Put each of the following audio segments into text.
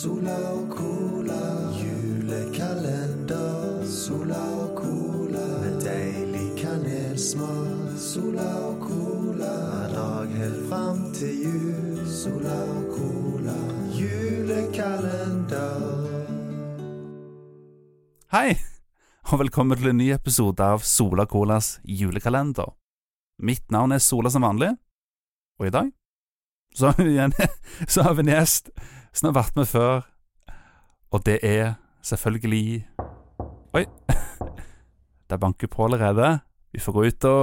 Sola og cola, julekalender. Sola og cola, med deilig kanelsmak. Sola og cola, hver dag helt fram til jul. Sola og cola, julekalender. Hei, og velkommen til en ny episode av Sola Colas julekalender. Mitt navn er Sola som vanlig, og i dag så har vi, igjen, så har vi en gjest som har vært med før, og det er selvfølgelig Oi, det banker på allerede. Vi får gå ut og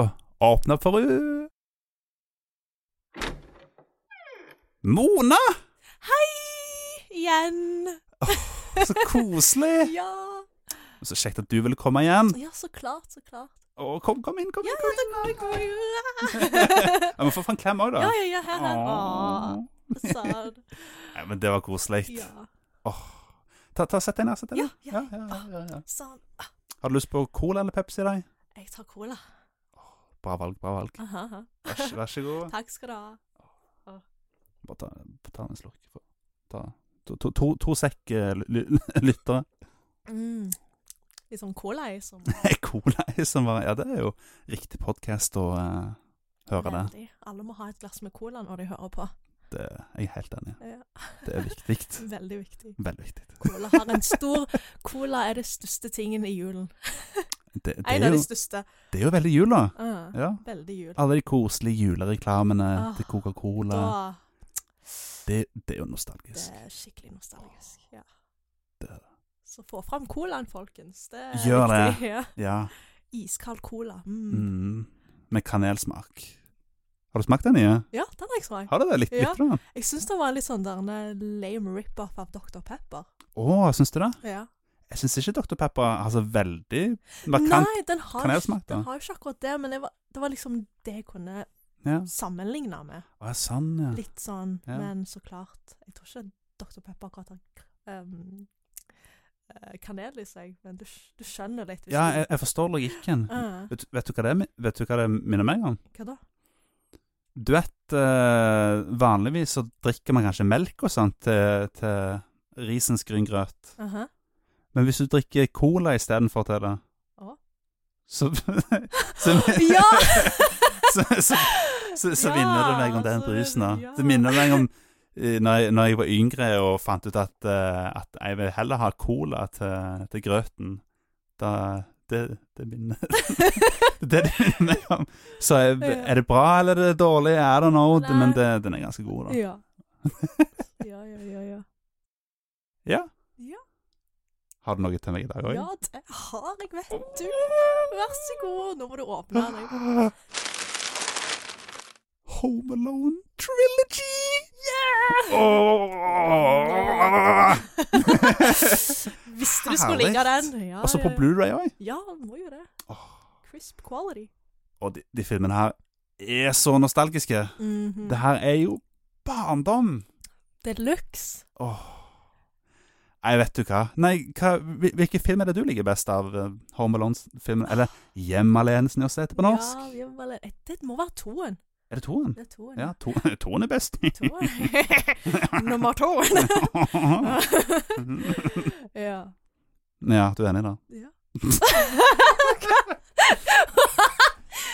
åpne opp for henne. Mona! Igjen. Så koselig! Ja. Så kjekt at du ville komme igjen. ja, så klart, så klart. Å, kom, kom inn, kom inn. kom inn. Ja, Jeg må få fra en klem òg, da. ja, ja, her, her. Åh, sånn. Nei, men det var koselig. Ja, Ta, ta, sett deg ned. sett deg ned. Ja, ja. ja, ja, ja. sånn. Har du lyst på cola eller Pepsi? Deg? Jeg tar cola. Bra valg, bra valg. Aha, aha. Vær, så- vær så god. Takk skal du ha. Bare ta, bare ta en slurk. for- Ta, to, to, to, to sekk eh, ly- ly- lyttere. Mm. Litt sånn cola i som Cola er som var Ja, det er jo riktig podkast å eh, høre det. Veldig. Alle må ha et glass med cola når de hører på. det. Jeg er helt enig. Ja. Det er viktig. Veldig viktig. Veldig viktig. Cola har en stor Cola er det største tingen i julen. Det, det, En er, av de jo, største. det er jo veldig jul, da. Ah, Ja. Veldig jul. Alle de koselige julereklamene Ah, til Coca-Cola. Da Det, det er jo nostalgisk. Det er skikkelig nostalgisk. Ja. Det er Så få fram colaen, folkens. Det er Gjør det. viktig. Ja. Ja. Iskald cola. Mm. Mm. Med kanelsmak. Har du smakt den nye? Ja, den har jeg smakt. Har du det? Lik, Ja. Likte du den? Jeg syns den var litt sånn der en lame rip-off av Dr. Pepper. Å, syns du det? Ja. Jeg syns ikke Dr. Pepper har så veldig markant Nei, den har, kanelsmak, da. den har jo ikke akkurat det, men det var, det var liksom det jeg kunne Ja. sammenligne med. Å, ja, sånn, ja. Litt sånn, Ja. men så klart Jeg tror ikke Dr. Pepper akkurat har um, eh, kanel i seg, men du, sk- du skjønner litt. hvis Ja, du- jeg, jeg forstår logikken. Ah, Vet, vet, du hva det, er mi- vet du hva det minner meg om? hva da? Du vet, eh, vanligvis så drikker man kanskje melk og sånt til, til risens gryngrøt. Aha. Men hvis du drikker cola istedenfor til det, Å? så, så Ja! så, så, så, så Ja, minner det meg om den så- brusen. da. ja. Det minner meg om eh, når jeg, når jeg var yngre og fant ut at, eh, at jeg vil heller ha cola til, til grøten. Da, det, det minner det, er det det minner meg om. Så er, Ja. er det bra eller er det dårlig? I don't know, Nei. men det, den er ganske god, da. Ja. Ja, ja, ja, ja. Ja. Ja. Har du noe til meg i dag òg? Ja, det har jeg, vet du. Vær så god. Nå må du åpne den. Home Alone Trilogy! Yeah! Åh! Visste du skulle ligge Herlig. den. Ja, Og så på ja, ja. Blu-ray òg. Ja, den må jo det. Crisp quality. Og de, de filmene her er så nostalgiske. Mhm. Det her er jo barndom. Deluxe. Åh. Nei, vet du hva. Nei, hva, hvil- hvilke film er det du liker best av eh, Home Alone-filmen? Eller Hjem alene, som de også heter på norsk. Ja, vi er vel- det må være toen. Er det toen? Det er toen. Ja, to, toen er best. Toen. Nummer toen. ja. ja, du er enig, da? ja.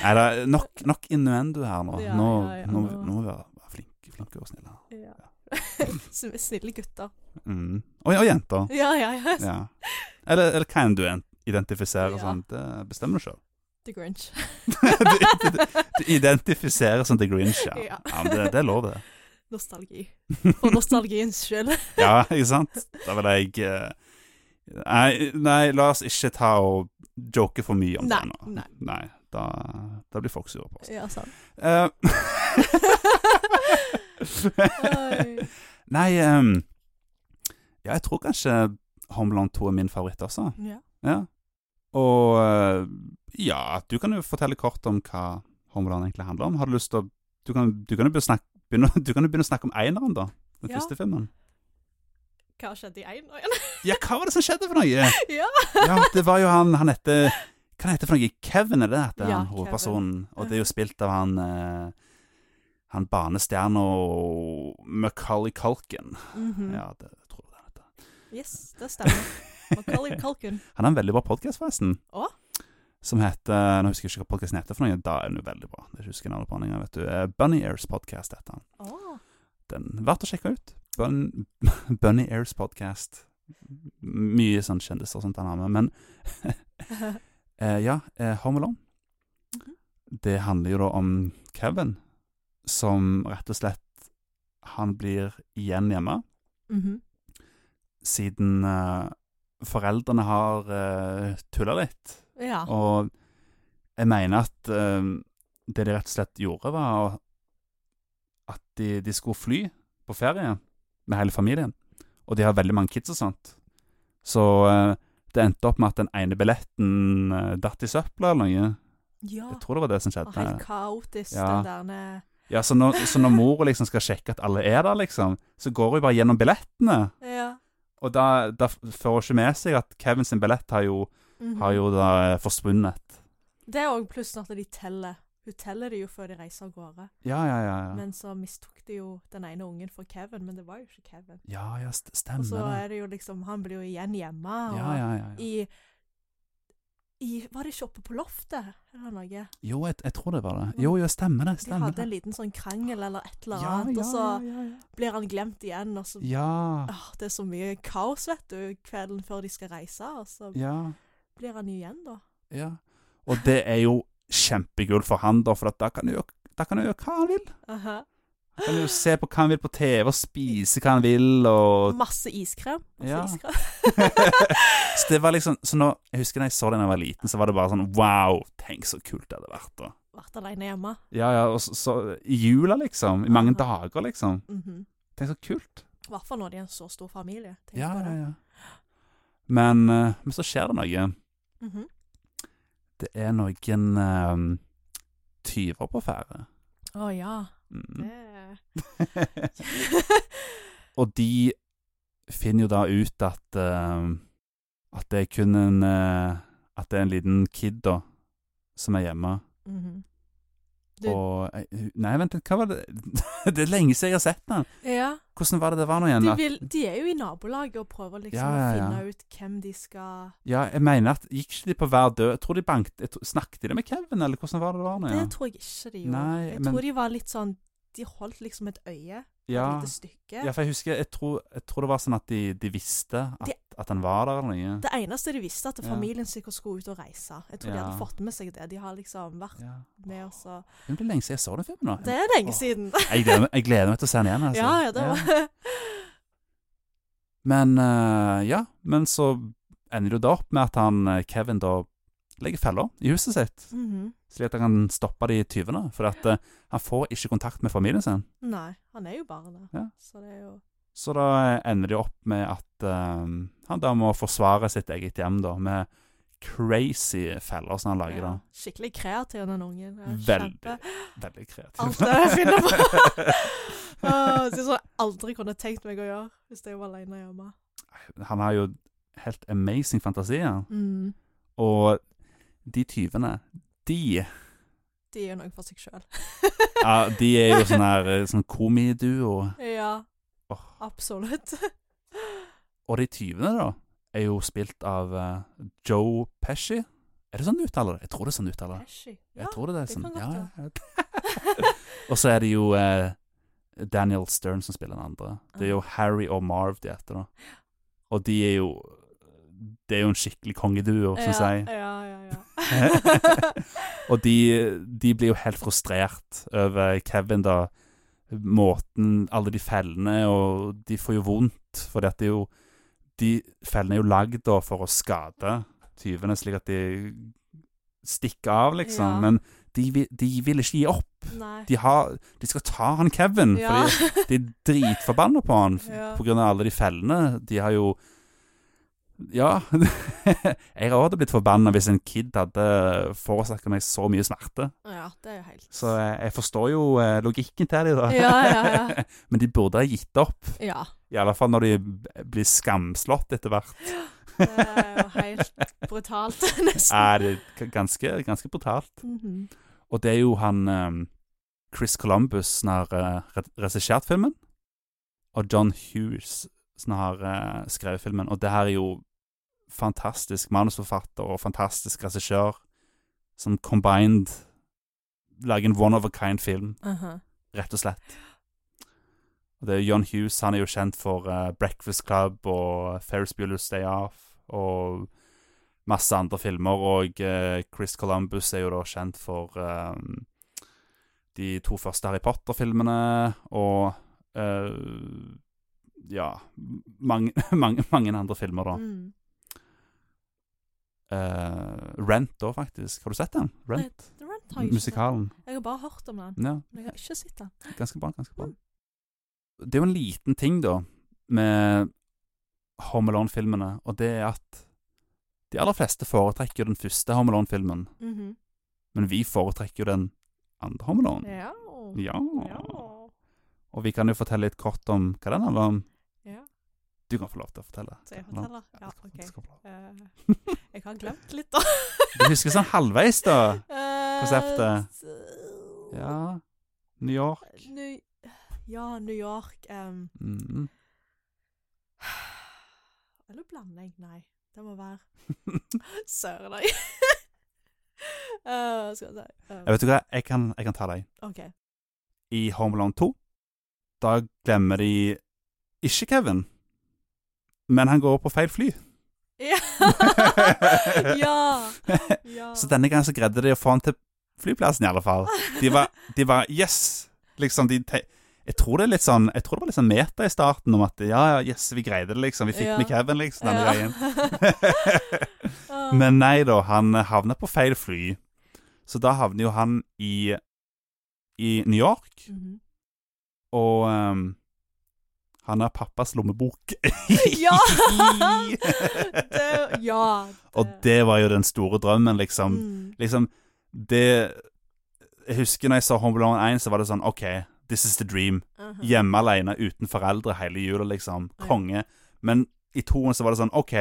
Nei da, nok, nok innuendo her nå. Ja, nå, ja, ja, nå, nå. nå må vi være være flinke, flinke og snille. ja. Som er Snille gutter. Mm. Og, og jenter. Ja, ja, ja. Ja. Eller, eller hvem du en- identifiserer Ja. som. Det bestemmer du sjøl. The Grinch. du, du, du identifiserer som The Grinch, ja. Ja. ja men det, det er lov, det. Nostalgi. For nostalgiens skyld. Ja, ikke sant? Da vil jeg eh, Nei, nei la oss ikke ta og joke for mye om Nei, det nå. nei. da, da blir folk sure på oss. Ja, sant. Eh, Oi. Nei ehm, Ja, jeg tror kanskje Homeland 2 er min favoritt også. Ja. Ja. Og eh, ja, du kan jo fortelle kort om hva Homeland egentlig handler om. Har du lyst til å Du kan, du kan jo begynne, å snakke- begynne, du kan jo begynne å snakke om eineren, da. Den Ja. første filmen. Hva skjedde i én og igjen? Ja, hva var det som skjedde for noe? Ja. Ja, det var jo han Han heter Hva han heter for noe? Kevin, er det det heter? Ja, han hovedpersonen. Og det er jo spilt av han eh, Han banestjerna Macauley Culkin. Mhm. Mm. Ja, det tror jeg det. Yes, det stemmer. Macaulay Culkin. Han har en veldig bra podkast, forresten. Å? Som heter Nå husker jeg ikke hva podkasten heter, for noe, da er den jo veldig bra. Det husker jeg navnet på han engang, vet du. Eh, Bunny Airs Podcast heter han. Å, Den Verdt å sjekke ut. Bun, Bunny Airs Podcast. Mye sånn kjendiser og sånt han har med. Men eh, ja, eh, Home Alone. Mhm. Det handler jo da om Kevin, som rett og slett Han blir igjen hjemme Mhm. siden eh, foreldrene har uh, tulla litt. Ja. Og jeg mener at eh, det de rett og slett gjorde, var at de, de skulle fly på ferie med hele familien. Og de har veldig mange kids og sånt. Så eh, det endte opp med at den ene billetten eh, datt i søpla eller noe. ja. Jeg tror det var det som Og skjedde. helt kaotisk, Ja. den derne Ja, så når, så når mor liksom skal sjekke at alle er der, liksom, så går hun bare gjennom billettene. Ja. Og da, da får hun ikke med seg at Kevin sin billett har jo, Mhm. har jo da eh, forsvunnet. Det er òg plussen at de teller. Hun teller det jo før de reiser av gårde. Ja, ja, ja. Ja, Men så mistok de jo den ene ungen for Kevin, men det var jo ikke Kevin. ja, ja st Og så stemmer det. er det jo liksom Han blir jo igjen hjemme. Og Ja, ja, ja. ja. I, i Var det ikke oppe på loftet eller noe? Jo, jeg, jeg tror det var det. Jo, jo, stemmer det. Mm. De Stemmer hadde en det. liten sånn krangel eller et eller Ja, annet, ja, og så ja, ja. blir han glemt igjen, og så Ja, Åh, Det er så mye kaos, vet du, kvelden før de skal reise, og så ja, blir han jo igjen, da. ja. Og det er jo kjempekult for han, da, for at da kan han jo- da kan han gjøre hva han vil. Aha. Han kan jo se på hva han vil på TV, og spise hva han vil, og Masse iskrem. Masse Ja. iskrem. Så det var liksom Så nå, jeg husker da jeg så det da jeg var liten, så var det bare sånn Wow, tenk så kult det hadde vært, da. Vært aleine hjemme. Ja, ja, og så, så I jula, liksom. I mange Ah. dager, liksom. Mhm. Tenk så kult. I hvert fall når de er en så stor familie. tenk Ja, ja, på det. ja. Men, eh, men så skjer det noe. Mm. Mhm. Det er noen eh, tyver på ferde. Å ja. Mm. Det Og de finner jo da ut at eh, at det er kun en eh, at det er en liten kid da som er hjemme. Mhm. Du- Og eh, Nei, vent litt, hva var det Det er lenge siden jeg har sett den. Ja. Hvordan var det det var nå igjen? De, At- vil, de er jo i nabolaget og prøver liksom Ja, ja, ja. å finne ut hvem de skal Ja, jeg mener at Gikk ikke de på hver død? Jeg tror de bankt, jeg tror, Snakket de med Kevin, eller hvordan var det det var nå? Det tror jeg ikke de gjorde. Nei, jeg men- tror de var litt sånn De holdt liksom et øye, Ja. et lite stykke. Ja, for jeg husker, jeg tror, jeg tror det var sånn at de, de visste at, at han var der eller noe. Det eneste de visste, at Ja. familien sikkert skulle ut og reise. Jeg tror de Ja. hadde fått med seg det. De har liksom vært Ja. med oss og Det blir lenge siden jeg så den filmen nå. Det er Åh. lenge siden! Jeg, gleder, meg- jeg gleder meg til å se den igjen. Altså. ja, ja, det var Men eh, ja, men så ender det jo da opp med at han, eh, Kevin da legger feller i huset sitt, Mhm. slik at han kan stoppe de tyvene. For at eh, han får ikke kontakt med familien sin. Nei, han er jo bare der. Ja. Så det er jo Så da eh, ender det jo opp med at eh, han da må forsvare sitt eget hjem da, med crazy feller som han lager ja, da. Skikkelig kreativ, den ungen. Ja, Veldig. kjempe. Veldig kreativ. Alt det jeg finner på. Åh, det er sånn jeg aldri kunne tenkt meg å gjøre hvis jeg var alene hjemme. han har jo helt amazing fantasier. Mm. Og de tyvene, de, De gjør noe for seg sjøl. ja, de er jo sånn her eh, sånn komiduo. ja, Åh. absolutt. Og de tyvene, da, er jo spilt av eh, Joe Pesci. Er det sånn du uttaler det? Jeg tror det er sånn du uttaler det. Pesci. Jeg Ja. tror det er det sånn. kan Ja, godt ja. Og så er det jo eh, Daniel Stern som spiller den andre. Det Ah. er jo Harry og Marv de heter, da. Og de er jo Det er jo en skikkelig kongeduo, syns ja, jeg. Ja, ja, ja. Og de, de blir jo helt frustrert over Kevin, da. Måten Alle de fellene, og de får jo vondt. For det er jo De fellene er jo lagd da for å skade tyvene, slik at de stikker av, liksom. Ja. Men de, vil- de vil ikke gi opp. Nei. De, har, de skal ta han Kevin, Ja. for de er dritforbanna på han f- Ja. på grunn av alle de fellene. De har jo Ja. jeg har også blitt forbanna hvis en kid hadde forårsaka meg så mye smerte. ja, det er jo helt Så jeg, jeg forstår jo eh, logikken til de da. Ja, ja, ja. Men de burde ha gitt opp. Ja. I alle fall når de b- blir skamslått etter hvert. Det er jo helt brutalt, nesten. Er det g- ganske, ganske brutalt. Mhm. Og det er jo han eh, Chris Columbus som har eh, re- regissert filmen. Og John Hughes som har eh, skrevet filmen. Og det her er jo fantastisk manusforfatter og fantastisk regissør som combined lager en one of a kind film, Aha. rett og slett. Og det er John Hughes, han er jo kjent for eh, Breakfast Club og Ferris Bueller's Day Off og masse andre filmer, og eh, Chris Columbus er jo da kjent for eh, de to første Harry Potter-filmene og eh, ja, mange, mange, mange andre filmer, da. Mm. Eh, Rent da, faktisk. Har du sett den? Nei, Rent? The Rent har jeg ikke Musikalen. sett. Jeg har bare hørt om den, Ja, men jeg har ikke sett den. ganske bra. ganske bra. Mm. Det er jo en liten ting, da, med Home Alone-filmene, og det er at de aller fleste foretrekker jo den første Home Alone-filmen, Mhm. men vi foretrekker jo den andre Home Alone. Ja. Ja. Ja. Og vi kan jo fortelle litt kort om hva den handler om. ja. Du kan få lov til å fortelle. Så jeg forteller? Ja, OK. Du, skal få lov. Eh, jeg har glemt litt, da. du husker sånn halvveis, da? Konseptet. Eh, Ja. New York. New, ja, New York em, Mm. Eller blander jeg? Nei, det må være Søren, nei. Eh, skal vi se eh, Jeg vet du hva, jeg kan, jeg kan ta deg. OK. i Home Alone 2. Da glemmer de ikke Kevin, men han går på feil fly. Ja! ja. ja. Så denne gangen så greide de å få han til flyplassen, i alle fall. De var, de var Yes! Liksom, de te jeg tror det er litt sånn Jeg tror det var litt sånn meta i starten om at ja, ja, yes, vi greide det, liksom. Vi fikk Ja. med Kevin, liksom, denne Ja. veien. Ah, Men nei da, han havner på feil fly. Så da havner jo han i, i New York. mhm. Og ehm, han har pappas lommebok. Ja! det, ja. Det, og det var jo den store drømmen, liksom. Mm. Liksom, det Jeg husker når jeg så Home Alone 1, så var det sånn OK, this is the dream. aha. Hjemme alene uten foreldre hele jula, liksom. Mm. Ja. Konge. Men i toen så var det sånn OK,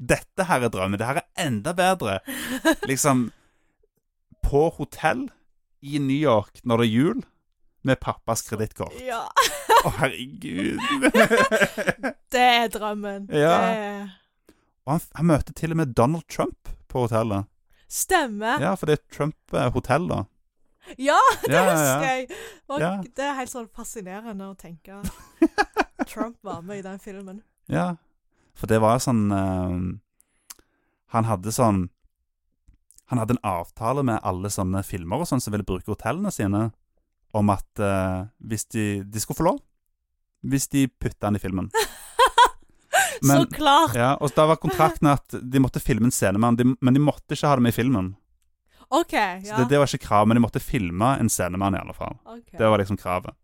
dette her er drømmen. Det her er enda bedre. Liksom På hotell i New York når det er jul, med pappas kredittkort. ja. Å, herregud. Det er drømmen. Ja. Det er- og han, han møter til og med Donald Trump på hotellet. Stemmer. Ja, for det er Trump-hotell, da. Ja, det Ja, ja, husker ja. jeg. Og Ja. Det er helt sånn fascinerende å tenke at Trump var med i den filmen. Ja. For det var jo sånn eh, Han hadde sånn Han hadde en avtale med alle sånne filmer og sånn som ville bruke hotellene sine, om at eh, hvis de, de skulle få lov Hvis de putta han i filmen. Så Men- klart! Ja, og da var kontrakten at de måtte filme en scene med han, de, men de måtte ikke ha det med i filmen. OK. Så Ja. det, det var ikke krav, men de måtte filme en scene med han i alle fall. Ok. Det var liksom kravet.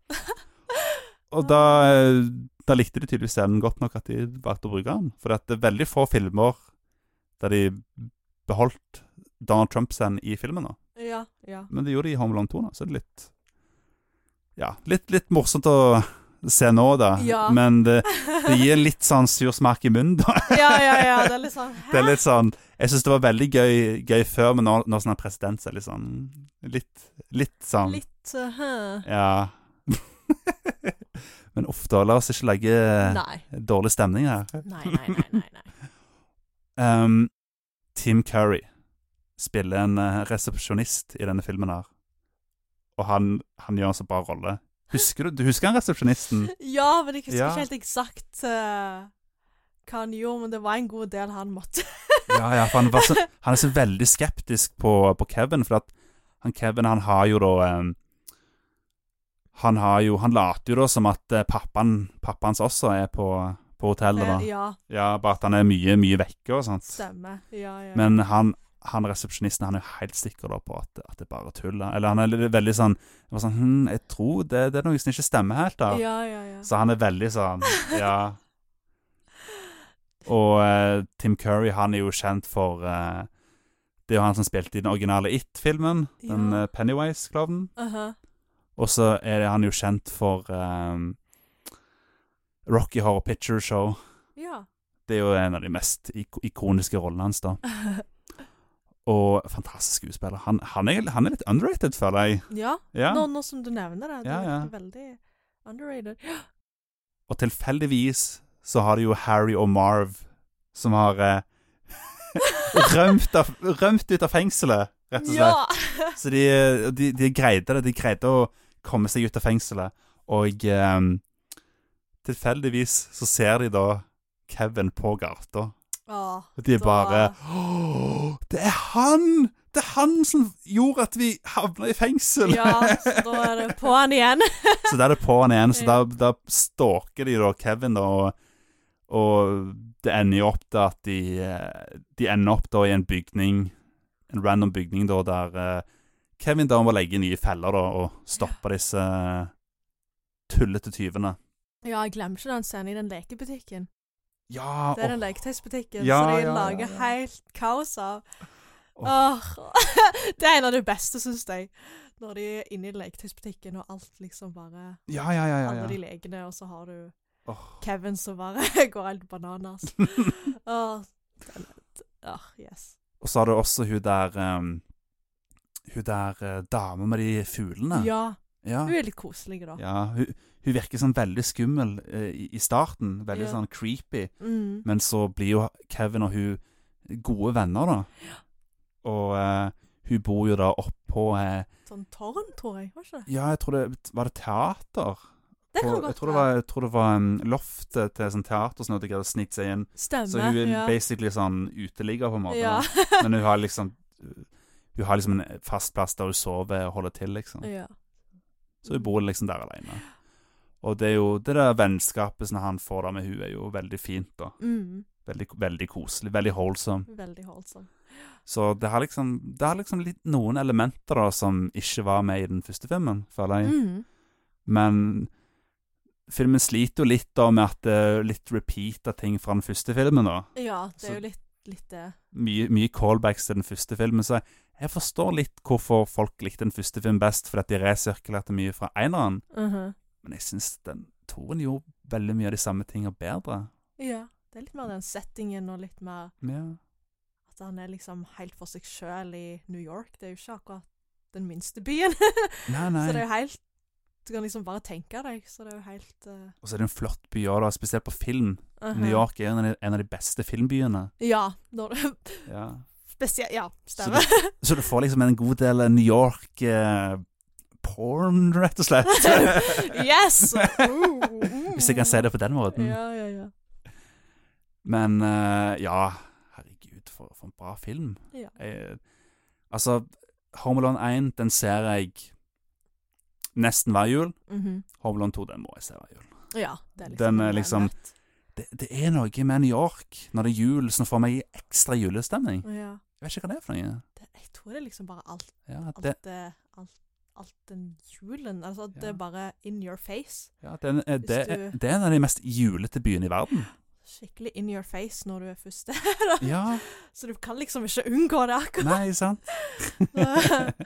Og da, eh, da likte de tydeligvis scenen godt nok at de valgte å bruke den. For det er veldig få filmer der de beholdt Donald Trump-scenen i filmen. da. Ja, ja. Men det gjorde de i Home Alone 2, da. så det er litt Ja, litt, litt morsomt å se nå, da. Ja. Men det, det gir litt sånn sur smak i munnen, da. ja, ja, ja. Det er litt sånn hæ? Det er litt sånn Jeg syns det var veldig gøy, gøy før, men nå, nå som han er president, så er det litt sånn Litt, litt sånn Litt uh, hæ? ja. Men uff da, la oss ikke legge eh, Nei. dårlig stemning her. Nei, nei, nei. nei, nei. Um, Tim Curry spiller en eh, resepsjonist i denne filmen her. Og han, han gjør en så bra rolle. Husker du, du husker han resepsjonisten? Ja, men jeg husker Ja. ikke helt eksakt eh, hva han gjorde, men det var en god del han måtte. Ja, ja, for han, var så, han er så veldig skeptisk på, på Kevin, for at han Kevin han har jo da em, Han har jo, han later jo da som at eh, pappaen, pappaen hans også er på, på hotellet, da. Eh, ja, Ja, bare at han er mye, mye vekke og sånt. stemmer. Ja, ja. Men han, han resepsjonisten han er jo helt sikker da på at, at det er bare tull. da. Eller han er litt- veldig sånn, det var sånn hm, 'Jeg tror det, det er noe som ikke stemmer helt ja, der.' ja, ja. Så han er veldig sånn Ja. Og eh, Tim Curry han er jo kjent for eh, Det er jo han som spilte i den originale It-filmen, den Ja. eh, Pennywise-klovnen. Aha. Og så er han jo kjent for eh, Rocky Horror Picture Show. Ja. Det er jo en av de mest ik ikoniske rollene hans, da. Og fantastisk skuespiller. Han, han, er, han er litt underrated, føler jeg. ja. Ja. Nå, nå som du nevner det, det Ja, er ja. veldig underrated. Og tilfeldigvis så har de jo Harry og Marv, som har eh, rømt, av, rømt ut av fengselet, rett og slett. Ja! Så de, de, de greide det. De greide å komme seg ut av fengselet. Og eh, tilfeldigvis så ser de da Kevin på gata. Ja, Og de da- bare «Åh, Det er han! Det er han som gjorde at vi havna i fengsel! Ja, så da er det på'n igjen. Så der er det på'n igjen. Så Ja. da, da stalker de da Kevin, da. Og, og det ender jo opp da at de eh, De ender opp da i en bygning, en random bygning da, der eh, Kevin da må legge nye feller da, og stoppe disse tullete tyvene. Ja, jeg glemmer ikke den scenen i den lekebutikken. Ja, Det er den åh, leketøysbutikken Ja, som de ja, ja, lager ja. helt kaos av. Åh. Åh. det er en av de beste, syns jeg. Når de er inne i leketøysbutikken, og alt liksom bare ja, ja, ja, ja, Alle de ja. lekene, og så har du Åh. Kevin som bare går helt bananas. Åh, den er Åh, yes. Og så har du også hun der ehm, Hun der eh, dame med de fuglene. Ja. Ja. Hun er litt koselig, da. Ja, hun, hun virker sånn veldig skummel eh, i, i starten. Veldig Ja. sånn creepy. Mm. Men så blir jo Kevin og hun gode venner, da. Og eh, hun bor jo da oppå eh, Sånn tårn, tror jeg. Var ikke det? Ja, jeg tror det var det teater. Det kan På- jeg godt tror det var, jeg tror det var um, loftet til sånn teater som de greide å snike seg inn. Stemmer. Så hun er ja. basically sånn uteligger, på en måte. ja. da. Men hun har liksom Hun har liksom en fast plass der hun sover og holder til, liksom. ja. Så hun bor liksom der alene. Og det er jo det der vennskapet som han får da med hun er jo veldig fint, da. Mm. Veldig, veldig koselig, veldig holdsom. Veldig holdsom. Så det har liksom Det har liksom litt noen elementer da som ikke var med i den første filmen, føler jeg. Mm. Men filmen sliter jo litt da med at det er litt repeat av ting fra den første filmen, da. Ja, det Så- er jo litt, litt det. Mye, mye callbacks til den første filmen, så jeg, jeg forstår litt hvorfor folk likte den første filmen best, fordi at de resirkulerte mye fra eneren. Mhm. Men jeg syns den toen gjorde veldig mye av de samme tinga bedre. Ja. Det er litt mer den settingen og litt mer Ja. at han er liksom helt for seg sjøl i New York. Det er jo ikke akkurat den minste byen. Nei, Så det er nei. jo helt Du kan liksom bare tenke deg, så det er jo helt eh, Og så er det en flott by òg, da, spesielt på film. aha. New York er en av de, en av de beste filmbyene. Ja. Når, Ja. spesielt Ja, Så, stemmer. du, så du får liksom en god del New York eh, porn, rett og slett. yes! Oh, mm. Hvis jeg kan si det på den måten. Ja, ja, ja. Men eh, ja, herregud, for, for en bra film. Ja. Jeg, altså, Home Alone 1, den ser jeg nesten hver jul. Mhm. Home Alone 2, den må jeg se hver jul. ja det er liksom Den er en liksom- nøtt. Det, det er noe med New York når det er jul som får meg i ekstra julestemning. ja. Jeg vet ikke hva det er for noe. det, Jeg tror det er liksom bare alt Ja, at alt, det, det, alt, alt den julen. Altså at det Ja. er bare in your face. ja, den, er- eh, det, Hvis er- du- det er en av de mest julete byene i verden. Skikkelig in your face når du er første. Ja, Så du kan liksom ikke unngå det akkurat. nei, sant?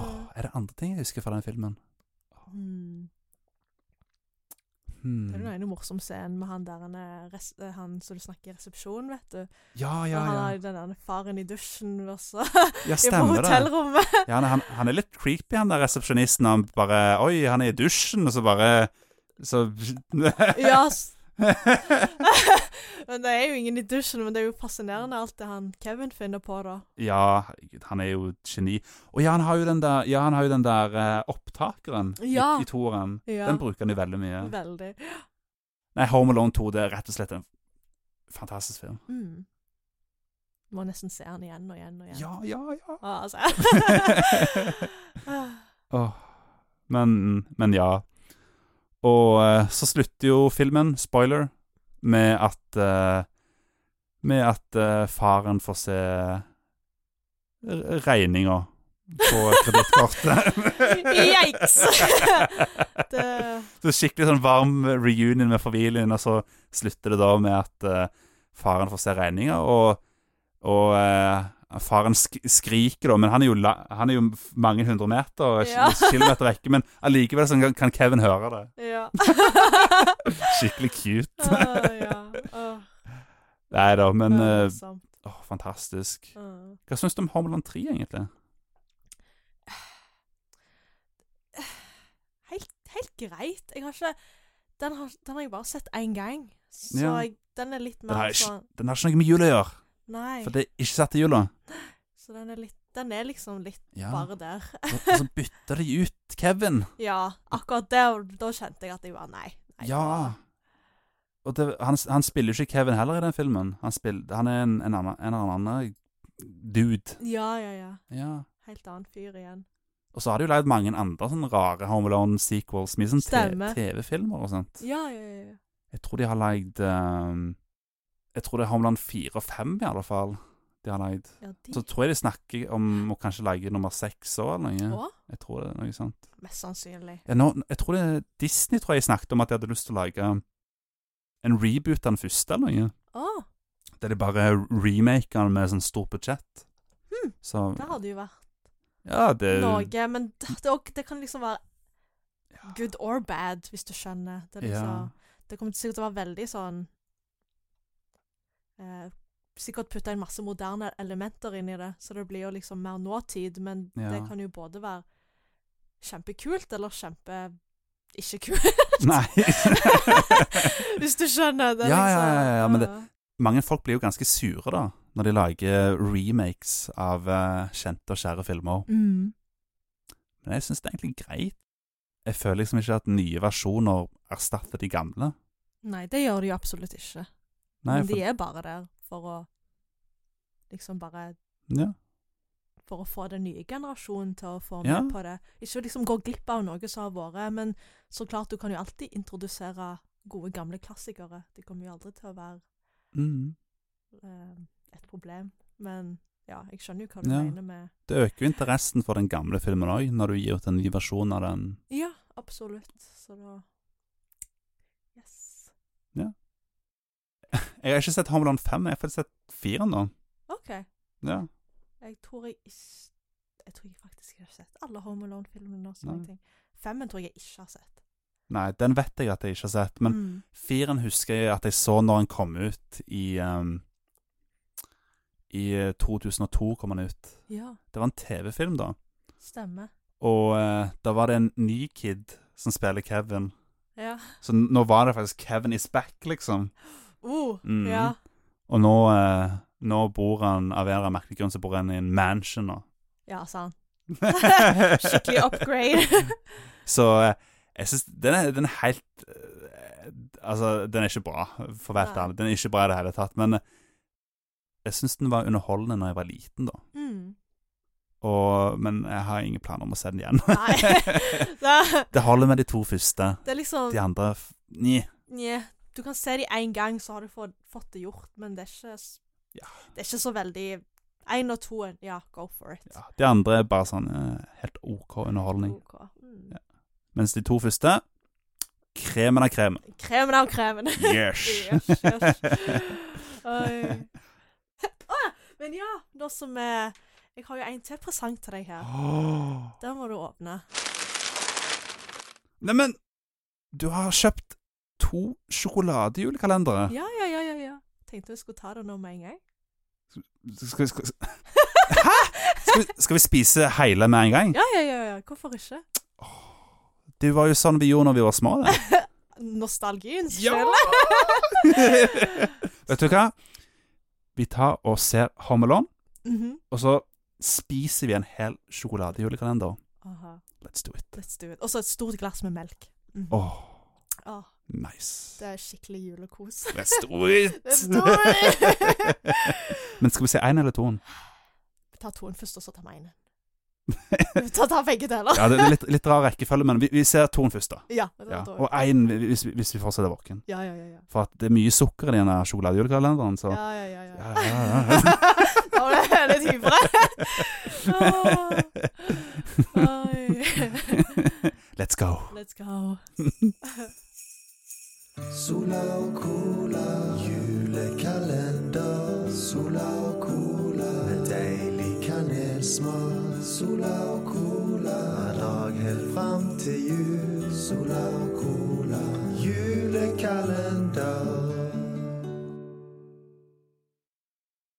Åh, er det andre ting jeg husker fra den filmen? hmm. Hmm. Det er den ene morsomme scenen med han der han, er res eh, han som du snakker i resepsjonen, vet du. Ja, ja, Og han ja. har den der faren i dusjen, og så Ja, er på stemmer det. hotellrommet. Ja, han, han, han er litt creepy, han der resepsjonisten. Han bare Oi, han er i dusjen, og så bare Så Ja. s- men det er jo ingen i dusjen, men det er jo fascinerende alt det han Kevin finner på, da. Ja, herregud, han er jo et geni. Og ja, han har jo den der, ja, han har jo den der eh, opptakeren Ja. i, i toeren. Ja, Den bruker han jo veldig mye. veldig. Nei, Home Alone 2 det er rett og slett en fantastisk film. Mm. Må nesten se han igjen og igjen og igjen. Ja, ja, ja. Ah, altså. Åh. Men, men ja. Og eh, så slutter jo filmen, spoiler, med at eh, Med at eh, faren får se re- regninga på kredittkortet. Yikes! det, Så skikkelig sånn varm reunion med familien, og så slutter det da med at eh, faren får se regninga, og, og eh, faren sk skriker da, men han er jo, la han er jo mange hundre meter, og Ja. kilometer vekke, men allikevel så kan- kan Kevin høre det. ja. Skikkelig cute. Ah, ja. Ah, Nei da, men det er eh, morsomt. åh, fantastisk. Ah. Hva syns du om Homeland 3, egentlig? Helt, helt greit. Jeg har ikke Den har, den har jeg bare sett én gang, så Ja. jeg, den er litt Den har mer ikke- sånn Den har ikke noe med jul å gjøre, Nei. for det er ikke satt i jula. Så den er litt Den er liksom litt Ja. bare der. Og og så bytter de ut Kevin. Ja, akkurat der, da kjente jeg at jeg var nei. nei Ja. Og det, han, han spiller jo ikke Kevin heller i den filmen. Han, spill- han er en, en, annen, en eller annen eh, dude. Ja, ja, ja. Ja. Helt annen fyr igjen. Og så har de jo lagd mange andre sånne rare Home Alone-sequels. Mye sånn te- Stemmer. TV-filmer og sånt. Ja, ja, ja. ja. Jeg tror de har lagd ehm, Jeg tror det er Home Alone 4 og 5 i alle fall. De har lagd. ja de, Så tror jeg de snakker om å kanskje lage nummer seks òg, eller noe. Å, Jeg tror det er noe sånt. mest sannsynlig. Ja, nå, jeg tror det er Disney tror jeg snakket om at de hadde lyst til å lage en reboot av den første, eller noe. Å, Der de bare remaker den med sånn stort budsjett. hm, Så det hadde jo vært Ja, det noe. Men det, det, er også- det kan liksom være good or bad, hvis du skjønner. Det, er Ja. liksom, det kommer sikkert til å være veldig sånn eh, Sikkert putta inn masse moderne elementer inn i det, så det blir jo liksom mer nåtid. Men det Ja. kan jo både være kjempekult eller kjempe ikke kult. Nei. Hvis du skjønner det. er Ja, ja, liksom- ja, ja, men det- mange folk blir jo ganske sure da, når de lager remakes av eh, kjente og kjære filmer. mm. Men jeg syns det er egentlig greit. Jeg føler liksom ikke at nye versjoner erstatter de gamle. Nei, det gjør de jo absolutt ikke. Nei, men de for, er bare der for å Liksom bare ja, for å få den nye generasjonen til å få med Ja. på det. Ikke å liksom gå glipp av noe som har vært, men så klart du kan jo alltid introdusere gode, gamle klassikere. De kommer jo aldri til å være mm. eh, et problem. Men ja, jeg skjønner jo hva du Ja. mener med Det øker jo interessen for den gamle filmen òg, når du gir ut en ny versjon av den. Ja, absolutt. Så da Yes. Jeg har ikke sett Homeland 5, jeg har faktisk sett 4 nå. OK. Ja. Jeg tror jeg ikke Jeg tror jeg faktisk ikke har sett alle Home Alone-filmene. og Nei. sånne ting. Femmen tror jeg jeg ikke har sett. Nei, den vet jeg at jeg ikke har sett, men Mm. Firen husker jeg at jeg så når han kom ut i ehm, I eh, 2002 kom han ut. Ja, Det var en TV-film, da. stemmer. Og eh, da var det en ny kid som spiller Kevin. Ja. Så n- nå var det faktisk Kevin is back, liksom. Uh, Mm. ja. Og nå, eh, nå bor han av en eller annen merkelig grunn så bor han i en mansion nå. ja, sant. Skikkelig upgrade. så eh, jeg syns den, er- den er helt eh, Altså, den er ikke bra, for å være Nei. ærlig. Den er ikke bra i det hele tatt. Men eh, jeg syns den var underholdende når jeg var liten, da. Mm. Og, men jeg har ingen planer om å se den igjen. Nei. Da- det holder med de to første. Det er liksom De andre f- Nje. Nje. Du kan se det én gang, så har du fått, fått det gjort, men det er ikke s- Ja. Det er ikke så veldig Én og to, ja, go for it. Ja, de andre er bare sånn eh, helt OK underholdning. OK. Mm. Ja. Mens de to første Kremen av kremen. Kremen av kremen. Yes! Yes, yes. Oi. Å, men ja, nå som eh, Jeg har jo en til presang til deg her. Åh. Den må du åpne. Neimen, du har kjøpt to sjokoladejulekalendere. Ja, ja, ja, ja. ja. Tenkte vi skulle ta det nå med en gang. Skal, vi- skal, skal, vi- skal vi spise hele med en gang? Ja, ja, ja, ja. Hvorfor ikke? Det var jo sånn vi gjorde når vi var små. Det. Nostalgien Ja! spiller. Vet du hva? Vi tar og ser Home Alone, Mhm. og så spiser vi en hel sjokoladejulekalender. Aha, Let's do it. let's do it. Og så et stort glass med melk. Mhm. Åh, Åh, det nice. er skikkelig julekos. Let's do it! Let's do it! Men skal vi se én eller toen? Ta toen først, og så ta meg en. Ta, ta begge deler. Ja, det det er litt, litt rar rekkefølge, men vi, vi ser toen først, da. Ja. Ja. da- Og én hvis, vi- hvis vi fortsetter våken. ja, ja, ja. ja. For at det er mye sukker i denne sjokoladejulekalenderen, så Ja, ja, ja. ja. Ja, ja, da ble jeg litt ivrig. Oi. Let's go. Let's go. Sola og cola, julekalender. Sola og cola, med deilig kanelsmak. Sola og cola, hver dag helt fram til jul. Sola og cola, julekalender.